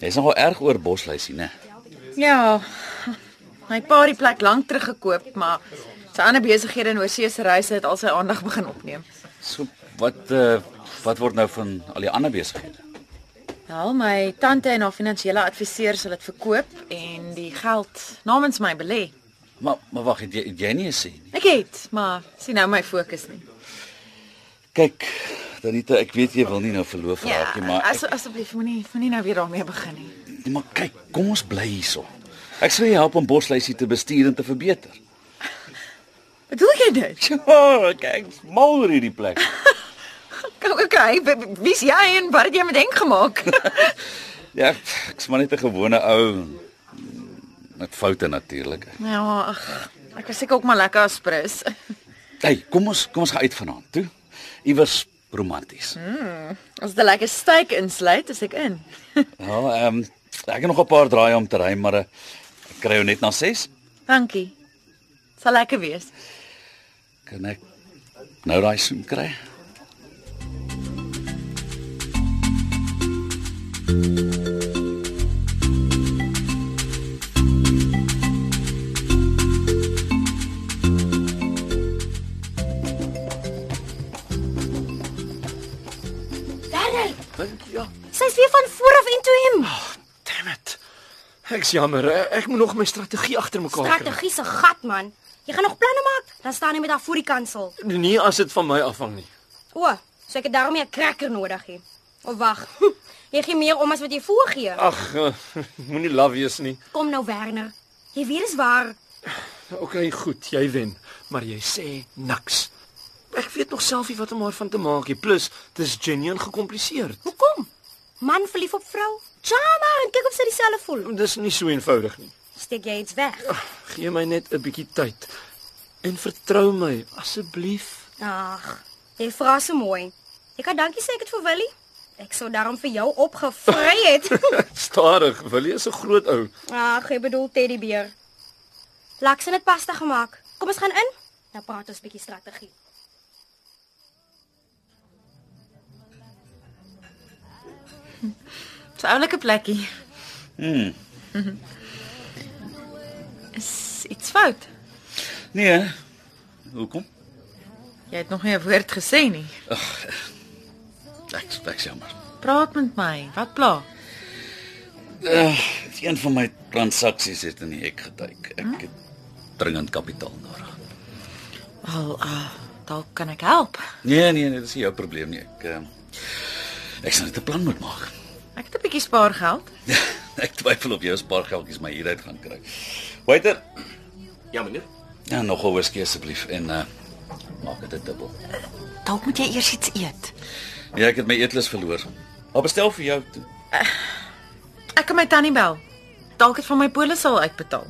[SPEAKER 10] jy's nogal erg oor bosluisie, né?
[SPEAKER 3] Ja. My pa het die plek lank terug gekoop, maar sy ander besighede in oorsee se reise het al sy aandag begin opneem.
[SPEAKER 10] So wat uh, wat word nou van al die ander besighede?
[SPEAKER 3] Wel, my tante en haar finansiële adviseur sal dit verkoop en die geld namens my belê.
[SPEAKER 10] Maar maar wag, het jy, het jy nie gesê nie.
[SPEAKER 3] Ek het, maar sien nou my fokus nie.
[SPEAKER 10] Kyk, Danita, ek weet jy wil nie nou verloof
[SPEAKER 3] Ja,
[SPEAKER 10] raak nie, maar
[SPEAKER 3] as, asseblief moenie moenie nou weer daarmee begin nie.
[SPEAKER 10] ek, maar kyk, kom ons bly hierso. Ek sal jou help om bosluisie te bestuur en te verbeter.
[SPEAKER 3] Bedoel jy dit?
[SPEAKER 10] Ja, kyk, mal oor hierdie plek.
[SPEAKER 3] Okay, w- w- wie's jy en wat het jy met Henk gemaak?
[SPEAKER 10] Ja, ek's maar net 'n gewone ou met foute natuurlik.
[SPEAKER 3] ja, ag, ek was seker ook maar lekker aspres.
[SPEAKER 10] Hey, kom ons kom ons gaan uit vanaand toe. Iewers romanties.
[SPEAKER 3] Mm, as dit 'n lekker steak insluit, is ek in.
[SPEAKER 10] Ja, ehm ek het nog 'n paar draaie om te ry, maar eh, ek kry jou net na 6.
[SPEAKER 3] Dankie. Sal lekker wees.
[SPEAKER 10] Kan ek nou daai soen kry?
[SPEAKER 9] hy?
[SPEAKER 5] Ja,
[SPEAKER 9] Sy's weer van voor af en toe hom.
[SPEAKER 5] damn it. Ek's jammer. e- Ek moet nog my strategie agter mekaar kry.
[SPEAKER 9] Strategie se gat man. Jy gaan nog planne maak, dan staan jy met haar voor die kansel.
[SPEAKER 5] Nee, Nie as dit van my afhang nie.
[SPEAKER 9] O, so ek het daarmee 'n cracker nodig hê. Of wag. Hm. Jy gee meer om as wat jy voorgee.
[SPEAKER 5] Ag, eh, moenie laf wees nie.
[SPEAKER 9] Kom nou Werner. Jy weet is waar.
[SPEAKER 5] Okay, goed, jy wen, maar jy sê niks. Ek weet nog self nie wat om haar van te maak nie. Plus, dis genuen gekompliseerd.
[SPEAKER 9] Hoekom? Man verlief op vrou. Charma, en kyk of sy dieselfde voel.
[SPEAKER 5] Dis nie so eenvoudig nie.
[SPEAKER 9] Steek jy iets weg?
[SPEAKER 5] Gee my net 'n bietjie tyd en vertrou my asseblief.
[SPEAKER 9] Ag, jy vra so mooi. Jy kan dankie sê ek het vir Willie. Ek sou daarom vir jou opgevry het.
[SPEAKER 5] Stadig, Willie is 'n groot ou.
[SPEAKER 9] Ag, jy Ah, bedoel teddybeer. Laks en dit pasta gemaak. Kom ons gaan in. Dan praat ons bietjie strategie.
[SPEAKER 3] So oulike plekkie.
[SPEAKER 10] Hmm.
[SPEAKER 3] Is iets fout?
[SPEAKER 10] Nee. hè? Hoekom?
[SPEAKER 3] Jy het nog nie 'n woord gesê nie.
[SPEAKER 10] Ag. Ek ek sê maar.
[SPEAKER 3] Praat met my. Wat pla?
[SPEAKER 10] Uh, een van my transaksies het in die hek geduik. Ek het dringend kapitaal nodig.
[SPEAKER 3] Wel, uh, dalk kan ek help.
[SPEAKER 10] Nee, nee, nee, dis nie jou probleem nie. Ek uh, ek sal net 'n plan moet maak.
[SPEAKER 3] Ek het 'n bietjie spaargeld.
[SPEAKER 10] Ek twyfel of jy 'n paar geldjies my hieruit gaan kry. Waiter.
[SPEAKER 11] Ja, meneer.
[SPEAKER 10] Ja, nog 'n whisky asseblief en uh, maak dit 'n dubbel.
[SPEAKER 4] Dalk moet jy eers iets eet.
[SPEAKER 10] Ja, ek het my eetlus verloor. Maar bestel vir jou toe.
[SPEAKER 3] Ek kan my tannie bel. Dalk het van my polisse al uitbetaal.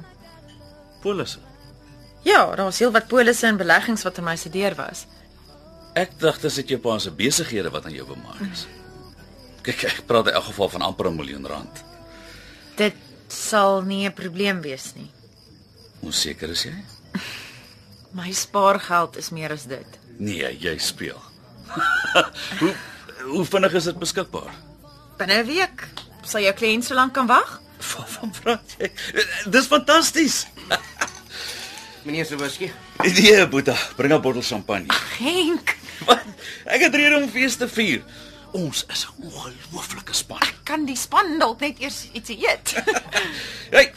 [SPEAKER 10] Polisse.
[SPEAKER 3] Ja, daar was heelwat polisse en beleggings wat in my se deur was.
[SPEAKER 10] Ek dacht dis dit jou pa se besighede wat aan jou bemaak is. Kyk, ek praat in elk geval van amper 'n miljoen rand.
[SPEAKER 3] Dit sal nie 'n probleem wees nie.
[SPEAKER 10] Hoe seker is jy?
[SPEAKER 3] My spaargeld is meer as dit.
[SPEAKER 10] Nee, jy speel. hoe hoe vinnig is dit beskikbaar?
[SPEAKER 3] Binne 'n week sal jou kliënt so lank kan wag.
[SPEAKER 10] Van praat jy? Dis fantasties.
[SPEAKER 11] Meneer se whisky.
[SPEAKER 10] Nee, Boeta, bring 'n bottel champagne.
[SPEAKER 3] Henk,
[SPEAKER 10] Ek het rede om fees te vier. Ons is 'n ongelooflike span.
[SPEAKER 3] kan die span dalk net eers iets eet?
[SPEAKER 10] Hey,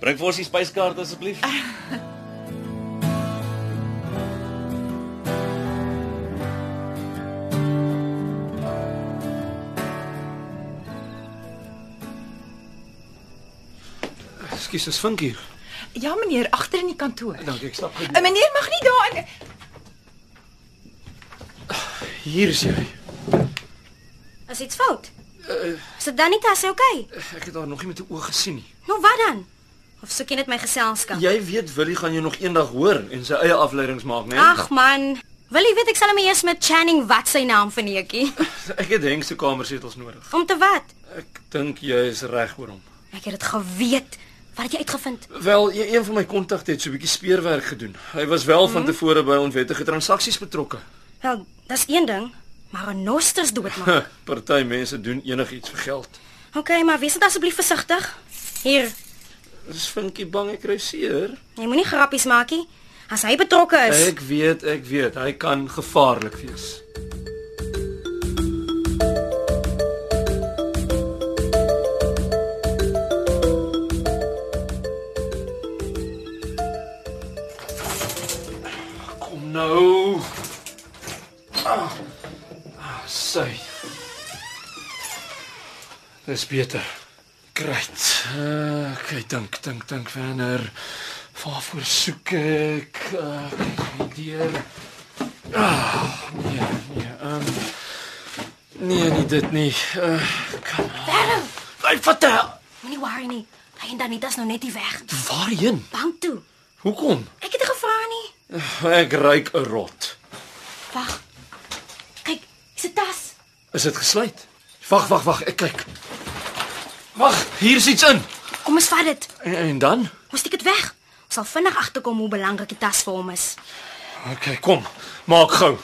[SPEAKER 10] bring vir ons die spyskaart asseblief.
[SPEAKER 5] Ekskuus, is vinkie.
[SPEAKER 4] Ja meneer, agter in die kantoor.
[SPEAKER 5] Dankie, ek stap
[SPEAKER 3] Eh,
[SPEAKER 4] 'n Meneer mag nie daarin
[SPEAKER 5] Hier is jy.
[SPEAKER 9] Is iets fout?
[SPEAKER 5] Uh,
[SPEAKER 9] Is dit dan nie tas okay?
[SPEAKER 5] ek het haar nog nie met 'n oog gesien nie.
[SPEAKER 9] Nou wat dan? Of soek jy net my geselskap?
[SPEAKER 5] Jy weet Willie gaan jou nog eendag hoor en sy eie afleidings maak, né?
[SPEAKER 9] Ag man, wil jy weet ek sal hom eers met Channing wat sy naam verneekie?
[SPEAKER 5] Ek het Henk se kamersetels nodig.
[SPEAKER 9] Om te wat?
[SPEAKER 5] Dink jy is reg oor hom?
[SPEAKER 9] Ek het dit geweet. Wat het jy uitgevind?
[SPEAKER 5] Wel, jy- een van my kontakte het so 'n bietjie speurwerk gedoen. Hy was wel van tevore by onwettige transaksies betrokke.
[SPEAKER 9] Wel, dis een ding, maar 'n nosters doodmaak.
[SPEAKER 5] Party mense doen enigiets vir geld.
[SPEAKER 9] Okay, maar wees net asseblief versigtig. Hier,
[SPEAKER 5] Dis vinkie bang ek kry seer.
[SPEAKER 9] jy moenie grappies maak nie. As hy betrokke is.
[SPEAKER 5] Ek weet, ek weet, hy kan gevaarlik wees. Kom nou. Ah, ah, sy. Dis beter. Great. Uh, okay, dink, dink, dink Werner. Waarvoor soek ek? Uh, kyk hier deur. Ah, nee, nee. Um, nee, nie dit nie. Uh,
[SPEAKER 9] Verder,
[SPEAKER 5] Ai, vertel.
[SPEAKER 9] moenie worry nie. Hy en Danita is nou net hier weg.
[SPEAKER 5] Waarheen?
[SPEAKER 9] Bank toe.
[SPEAKER 5] Hoekom?
[SPEAKER 9] Ek het nie gevra nie.
[SPEAKER 5] Ek ruik 'n rot.
[SPEAKER 9] Wag. Kyk, dis 'n tas.
[SPEAKER 5] Is dit gesluit? Wag, wag, wag, ek kyk. Wag, hier is iets in.
[SPEAKER 9] Kom ons vat dit.
[SPEAKER 5] En, en dan?
[SPEAKER 9] Ons steek dit weg. Ons sal vinnig agterkom hoe belangrik die tas vir hom is.
[SPEAKER 5] Okay, kom. Maak gou.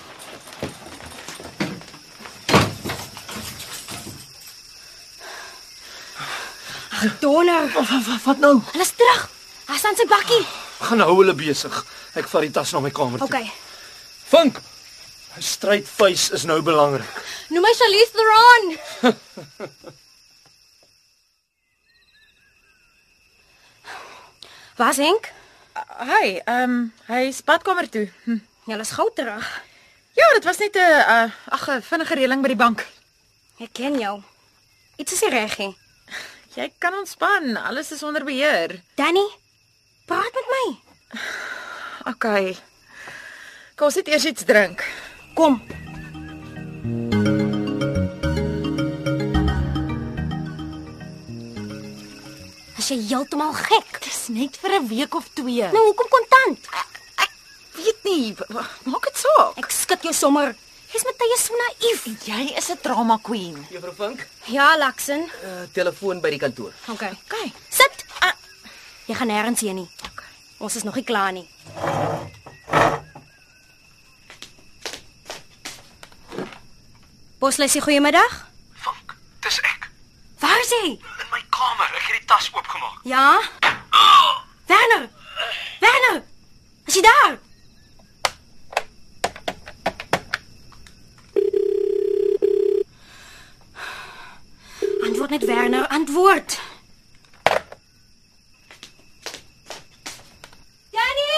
[SPEAKER 9] Donor.
[SPEAKER 5] Wat wat, wat nou?
[SPEAKER 9] Hulle is terug. Hy staan sy bakkie.
[SPEAKER 5] Gaan hou hulle besig. Ek vat die tas na my kamer toe.
[SPEAKER 9] Okay.
[SPEAKER 5] Vink.
[SPEAKER 12] Straight face is nou belangrik.
[SPEAKER 9] Noem my Charlize Theron. Waar's Henk?
[SPEAKER 3] Hi, ehm hy is badkamer toe. Hm.
[SPEAKER 9] Julle is gou terug.
[SPEAKER 3] Ja, dit was net 'n uh, ag 'n vinnige reëling by die bank.
[SPEAKER 9] Ek ken jou. Iets is nie reg nie.
[SPEAKER 3] Jy kan ontspan. Alles is onder beheer.
[SPEAKER 9] Danny, praat met my.
[SPEAKER 3] OK. Kom sit eers iets drink.
[SPEAKER 9] Kom. As jy heeltemal gek.
[SPEAKER 3] Dis net vir 'n week of twee.
[SPEAKER 9] Nou hoekom kontant?
[SPEAKER 3] weet nie. w- w- Maak dit saak.
[SPEAKER 9] Ek skud jou sommer. Jy's met tye so naïef.
[SPEAKER 3] Jy is 'n drama queen.
[SPEAKER 13] Juffrou Vink,
[SPEAKER 9] Ja, Laksen.
[SPEAKER 13] uh, telefoon by die kantoor.
[SPEAKER 9] Okay. Okay. Sit. Ah, jy gaan nêrens heen nie. Okay. Ons is nog nie klaar nie. Poslesie, goeiemiddag.
[SPEAKER 14] Dis ek
[SPEAKER 9] Waar is hy?
[SPEAKER 14] in my kamer. Ek het die tas oopgemaak. Ah!
[SPEAKER 9] Ja. Werner. Werner. Is jy daar? Antwoord net Werner, antwoord. Danny!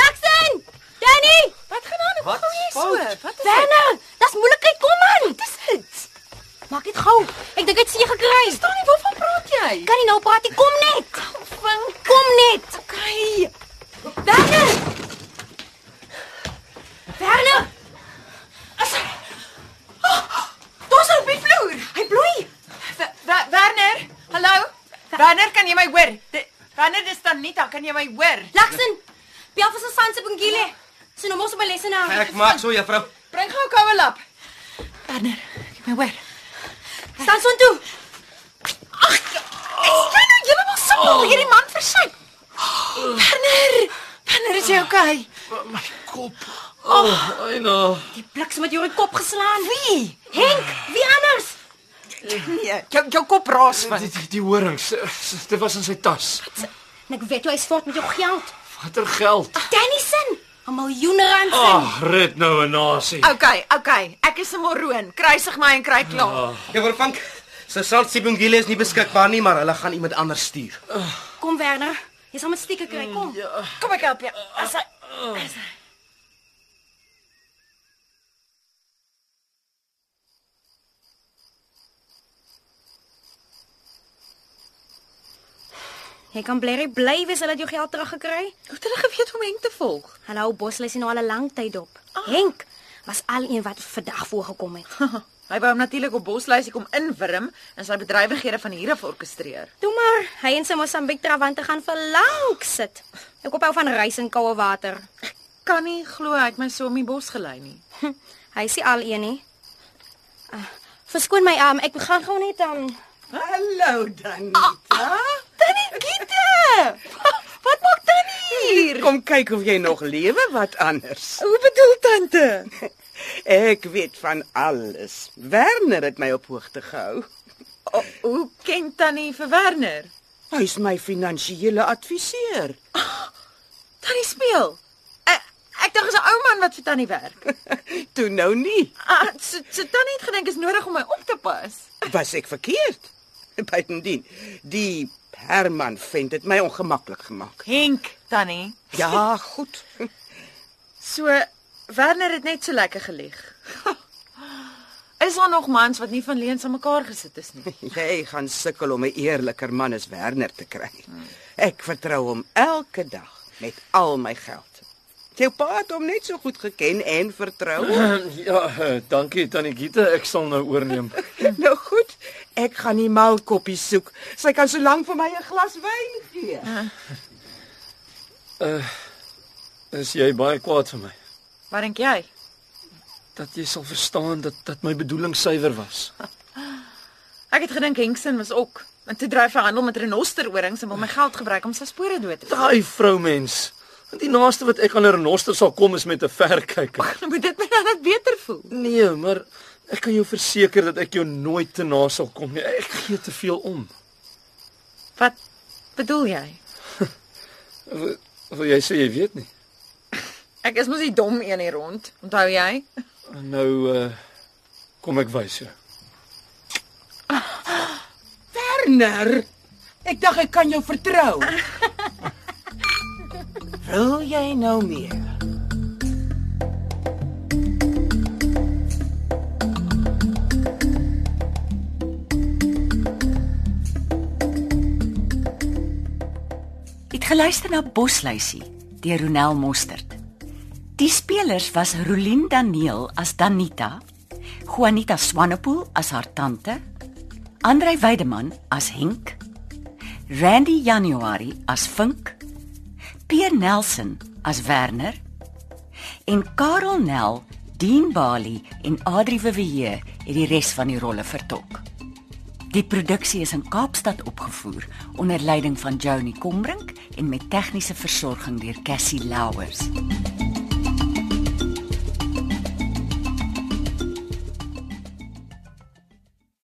[SPEAKER 9] Laksen! Danny!
[SPEAKER 3] Wat gaan aan? Wat gaan jy so? Wat is
[SPEAKER 9] Werner, dis moeilikheid, kom aan. Wat is dit? Maak dit gou. Ek dink dit sien jy gekry.
[SPEAKER 3] Staan nie waarvan praat jy?
[SPEAKER 9] Kan nie nou praat nie, kom net. Vang, kom net.
[SPEAKER 3] Okay.
[SPEAKER 9] Werner! Werner!
[SPEAKER 3] Daar's op die vloer. Ah, Hy bloei. W- W- Werner, hallo. Werner, kan jy my hoor? Di- Werner, dis Tanita, kan jy my hoor?
[SPEAKER 9] Laksen, bel vir Susan se bengile. Sy nou mos op my lesenaar.
[SPEAKER 14] Ek maak so, juffrou.
[SPEAKER 3] Bring gou 'n koue lap. Werner, kan jy my hoor?
[SPEAKER 9] Staan so toe.
[SPEAKER 3] Is jy nou heeltemal simpel hierdie man versuip? Werner, Werner is jy
[SPEAKER 9] Ah.
[SPEAKER 3] okay?
[SPEAKER 5] My kop.
[SPEAKER 9] Oh,
[SPEAKER 5] Eina.
[SPEAKER 9] die bliksem het jou in die kop geslaan.
[SPEAKER 3] Wie?
[SPEAKER 9] Henk, wie anders?
[SPEAKER 3] Nee, jou jou kop raas
[SPEAKER 5] Die die, die horings, eh, dit was in sy tas.
[SPEAKER 9] En ek weet jy is voort met jou geld.
[SPEAKER 5] Watter geld?
[SPEAKER 3] Ah.
[SPEAKER 9] Danny sin, 'n miljoen rand sin.
[SPEAKER 5] Ag, red nou 'n nasie.
[SPEAKER 3] Okay, okay. Ek is 'n moroon. Kruisig my en kry klaar.
[SPEAKER 14] Juffrou Vink, Susan Sibongile is nie beskikbaar nie, maar hulle gaan iemand anders stuur.
[SPEAKER 9] Kom Werner, jy sal met stieke kry. Kom.
[SPEAKER 3] Mm, Kom ek help jou. As hy as hy-
[SPEAKER 9] Jy kan blerry bly wees hulle het jou geld teruggekry.
[SPEAKER 3] Hoe het hulle geweet om Henk te volg?
[SPEAKER 9] Hallo Bosley sien nou al 'n lang tyd op. Henk was al een wat vandag voorgekom het.
[SPEAKER 3] Hy wou hom natuurlik op Bosluisie kom inwurm en sy bedrywighede van hier af orkestreer.
[SPEAKER 9] Toe maar, hy en sy Mosambiek trawante gaan vir lank sit. Ek koop hou van rys en koue water.
[SPEAKER 3] Kan nie glo hy het my so om die bos gelei nie.
[SPEAKER 9] Hy is nie al een nie. Ah, verskoon my, um, ek gaan gou net um
[SPEAKER 2] Hallo
[SPEAKER 1] Ah,
[SPEAKER 2] Danita.
[SPEAKER 3] Tannie Giete. Wat maak tannie hier?
[SPEAKER 2] Kom kyk of jy nog lewe, wat anders.
[SPEAKER 3] Hoe bedoel tante?
[SPEAKER 2] Ek weet van alles. Werner het my op hoogte gehou.
[SPEAKER 3] O, hoe ken tannie vir Werner?
[SPEAKER 2] Hy's my finansiële adviseur.
[SPEAKER 3] Tannie speel. Ek, Eh, ek dink is 'n ou man wat vir tannie werk.
[SPEAKER 2] Toe nou nie.
[SPEAKER 3] Ah, so, so tannie het gedink is nodig om my op te pas.
[SPEAKER 2] Was ek verkeerd? Buitendien, die Herman vind dit my ongemaklik gemaak.
[SPEAKER 3] Henk, tannie.
[SPEAKER 2] Ja, goed.
[SPEAKER 3] So Werner het net so lekker gelieg. Is daar nog mans wat nie van leens aan mekaar gesit is nie?
[SPEAKER 2] Jy gaan sukkel om 'n eerliker man as Werner te kry. Ek vertrou hom elke dag met al my geld. Jou pa het hom net so goed geken en vertrou.
[SPEAKER 5] Ja, eh, dankie Tannie Giete, ek sal nou oorneem.
[SPEAKER 2] nou goed, ek gaan die maalkoppie soek. Sy kan so lank vir my 'n glas wyn gee.
[SPEAKER 5] Uh is jy baie kwaad vir my?
[SPEAKER 3] Wat dink jy?
[SPEAKER 5] Dat jy sal verstaan dat dat my bedoeling suiwer was.
[SPEAKER 3] Ek het gedink Henksin was ook. En toe dryf hy handel met renosterorings en wil my geld gebruik om sy spore dood te
[SPEAKER 5] Daai vroumens. Want die naaste wat ek aan 'n renoster sal kom is met 'n verkyker.
[SPEAKER 3] Moet dit my dan net beter voel?
[SPEAKER 5] Nee, maar ek kan jou verseker dat ek jou nooit te na sal kom nie. Ek gee te veel om.
[SPEAKER 3] Wat bedoel jy?
[SPEAKER 5] Wil wil jy sê jy weet nie?
[SPEAKER 3] Ek is mos die dom een hier rond. Onthou jy?
[SPEAKER 5] Nou uh, kom ek wys jou.
[SPEAKER 3] Werner, ek dink ek kan jou vertrou. Wil jy nou meer?
[SPEAKER 2] Het geluister na Bosluisie deur Ronel Mostert. Die spelers was Rolien Daniel as Danita, Juanita Swanepoel as haar tante, Andrei Weideman as Henk, Randy January as Vink, Pierre Nelson as Werner en Karel Nel, Dean Bali en Adri Vivier het die res van die rolle vertolk. Die produksie is in Kaapstad opgevoer onder leiding van Johnny Combrink en met tegniese versorging deur Cassie Louwers.